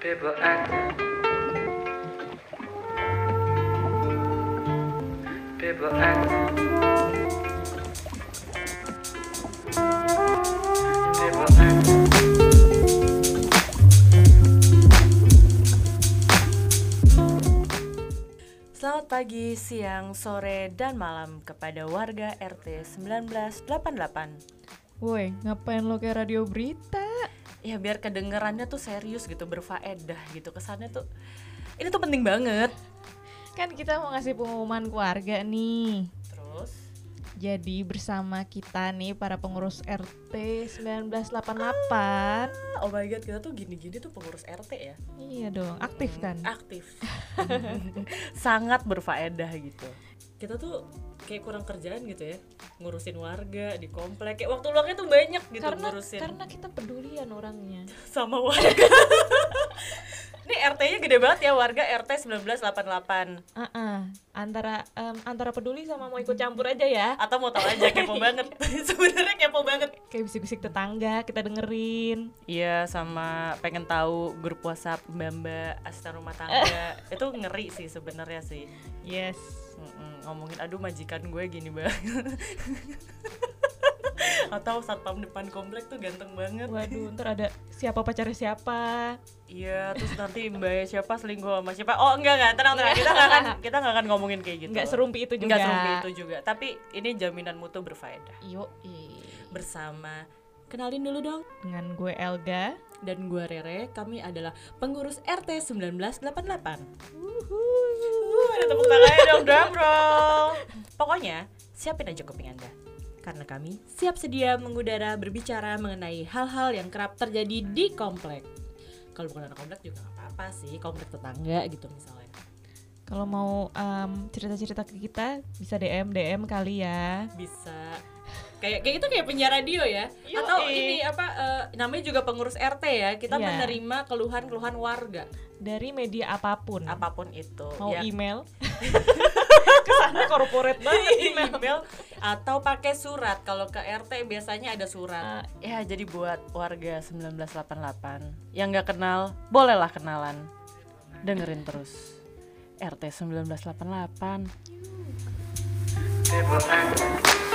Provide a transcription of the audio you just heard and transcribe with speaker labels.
Speaker 1: people act. People act. People act.
Speaker 2: Selamat pagi, siang, sore, dan malam kepada warga RT 1988.
Speaker 3: Woi, ngapain lo kayak radio berita?
Speaker 2: Ya biar kedengerannya tuh serius gitu, berfaedah gitu. Kesannya tuh ini tuh penting banget.
Speaker 3: Kan kita mau ngasih pengumuman keluarga nih.
Speaker 2: Terus
Speaker 3: Jadi bersama kita nih para pengurus RT 1988.
Speaker 2: ah, Oh my god, kita tuh gini-gini tuh pengurus RT ya
Speaker 3: Iya dong, aktif kan?
Speaker 2: Aktif Sangat berfaedah gitu Kita tuh kayak kurang kerjaan gitu ya Ngurusin warga di komplek Kayak waktu luangnya tuh banyak gitu
Speaker 3: karena
Speaker 2: ngurusin
Speaker 3: karena kita pedulian orangnya.
Speaker 2: sama warga. Ini RT-nya gede banget ya warga RT 1988.
Speaker 3: Ah, ah. antara em, antara peduli sama mau ikut campur aja ya.
Speaker 2: Atau mau tahu aja kepo banget. Sebenarnya kepo banget.
Speaker 3: Kayak bisik-bisik tetangga kita dengerin.
Speaker 2: Iya, sama pengen tahu grup WhatsApp Mbak asisten rumah tangga. Itu ngeri sih sebenarnya sih.
Speaker 3: Yes.
Speaker 2: Mm-mm, ngomongin aduh majikan gue gini banget. Atau satpam depan komplek tuh ganteng banget.
Speaker 3: Waduh, ntar ada siapa pacarnya siapa.
Speaker 2: Iya, terus nanti Mbak siapa selingkuh sama siapa? Oh, enggak enggak, tenang tenang. Kita enggak akan kita enggak akan ngomongin kayak gitu.
Speaker 3: Nggak serumpi itu juga.
Speaker 2: Nggak serumpi itu juga. Tapi ini jaminan mutu berfaedah.
Speaker 3: Yoi.
Speaker 2: Bersama kenalin dulu dong.
Speaker 3: dengan gue Elga.
Speaker 2: Dan gua Rere, kami adalah pengurus RT 1988. Uh, ada tepuk tangannya dong, drum roll. Pokoknya, siapin aja kuping Anda. Karena kami siap sedia mengudara berbicara mengenai hal-hal yang kerap terjadi di komplek. Kalau bukan anak komplek juga nggak apa-apa sih, komplek tetangga gitu misalnya.
Speaker 3: Kalau mau em, cerita-cerita ke kita bisa DM DM kali ya.
Speaker 2: bisa kayak kayak itu kayak penyiar radio ya
Speaker 3: Yoi.
Speaker 2: atau ini apa eh, namanya juga pengurus RT ya kita
Speaker 3: Iya.
Speaker 2: menerima keluhan-keluhan warga
Speaker 3: Dari media apapun.
Speaker 2: apapun itu
Speaker 3: Hmm. mau
Speaker 2: ya
Speaker 3: email. Kesana corporate
Speaker 2: Iya.
Speaker 3: banget email.
Speaker 2: email atau pakai surat kalau ke RT biasanya ada surat ya jadi buat warga 1988 yang nggak kenal bolehlah kenalan dengerin terus RT 1988
Speaker 1: People act.